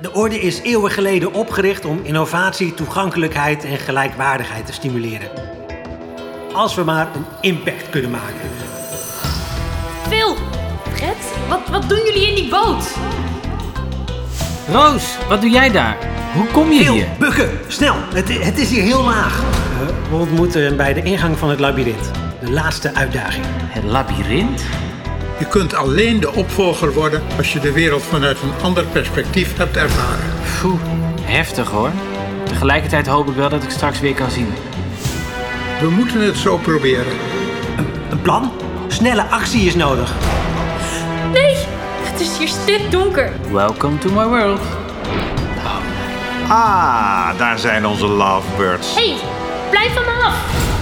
De orde is eeuwen geleden opgericht om innovatie, toegankelijkheid en gelijkwaardigheid te stimuleren. Als we maar een impact kunnen maken. Phil, Fred, wat, wat doen jullie in die boot? Roos, wat doe jij daar? Hoe kom je Heel, hier? bukken, snel. Het, het is hier heel laag. Eh, We ontmoeten hem bij de ingang van het labyrint. De laatste uitdaging. Het labyrint? Je kunt alleen de opvolger worden als je de wereld vanuit een ander perspectief hebt ervaren. Phew, heftig hoor. Tegelijkertijd hoop ik wel dat ik straks weer kan zien. We moeten het zo proberen. Een plan? Snelle actie is nodig. Nee, het is hier stikdonker. Welcome to my world. Ah, daar zijn onze lovebirds. Hé, hey, blijf van me af.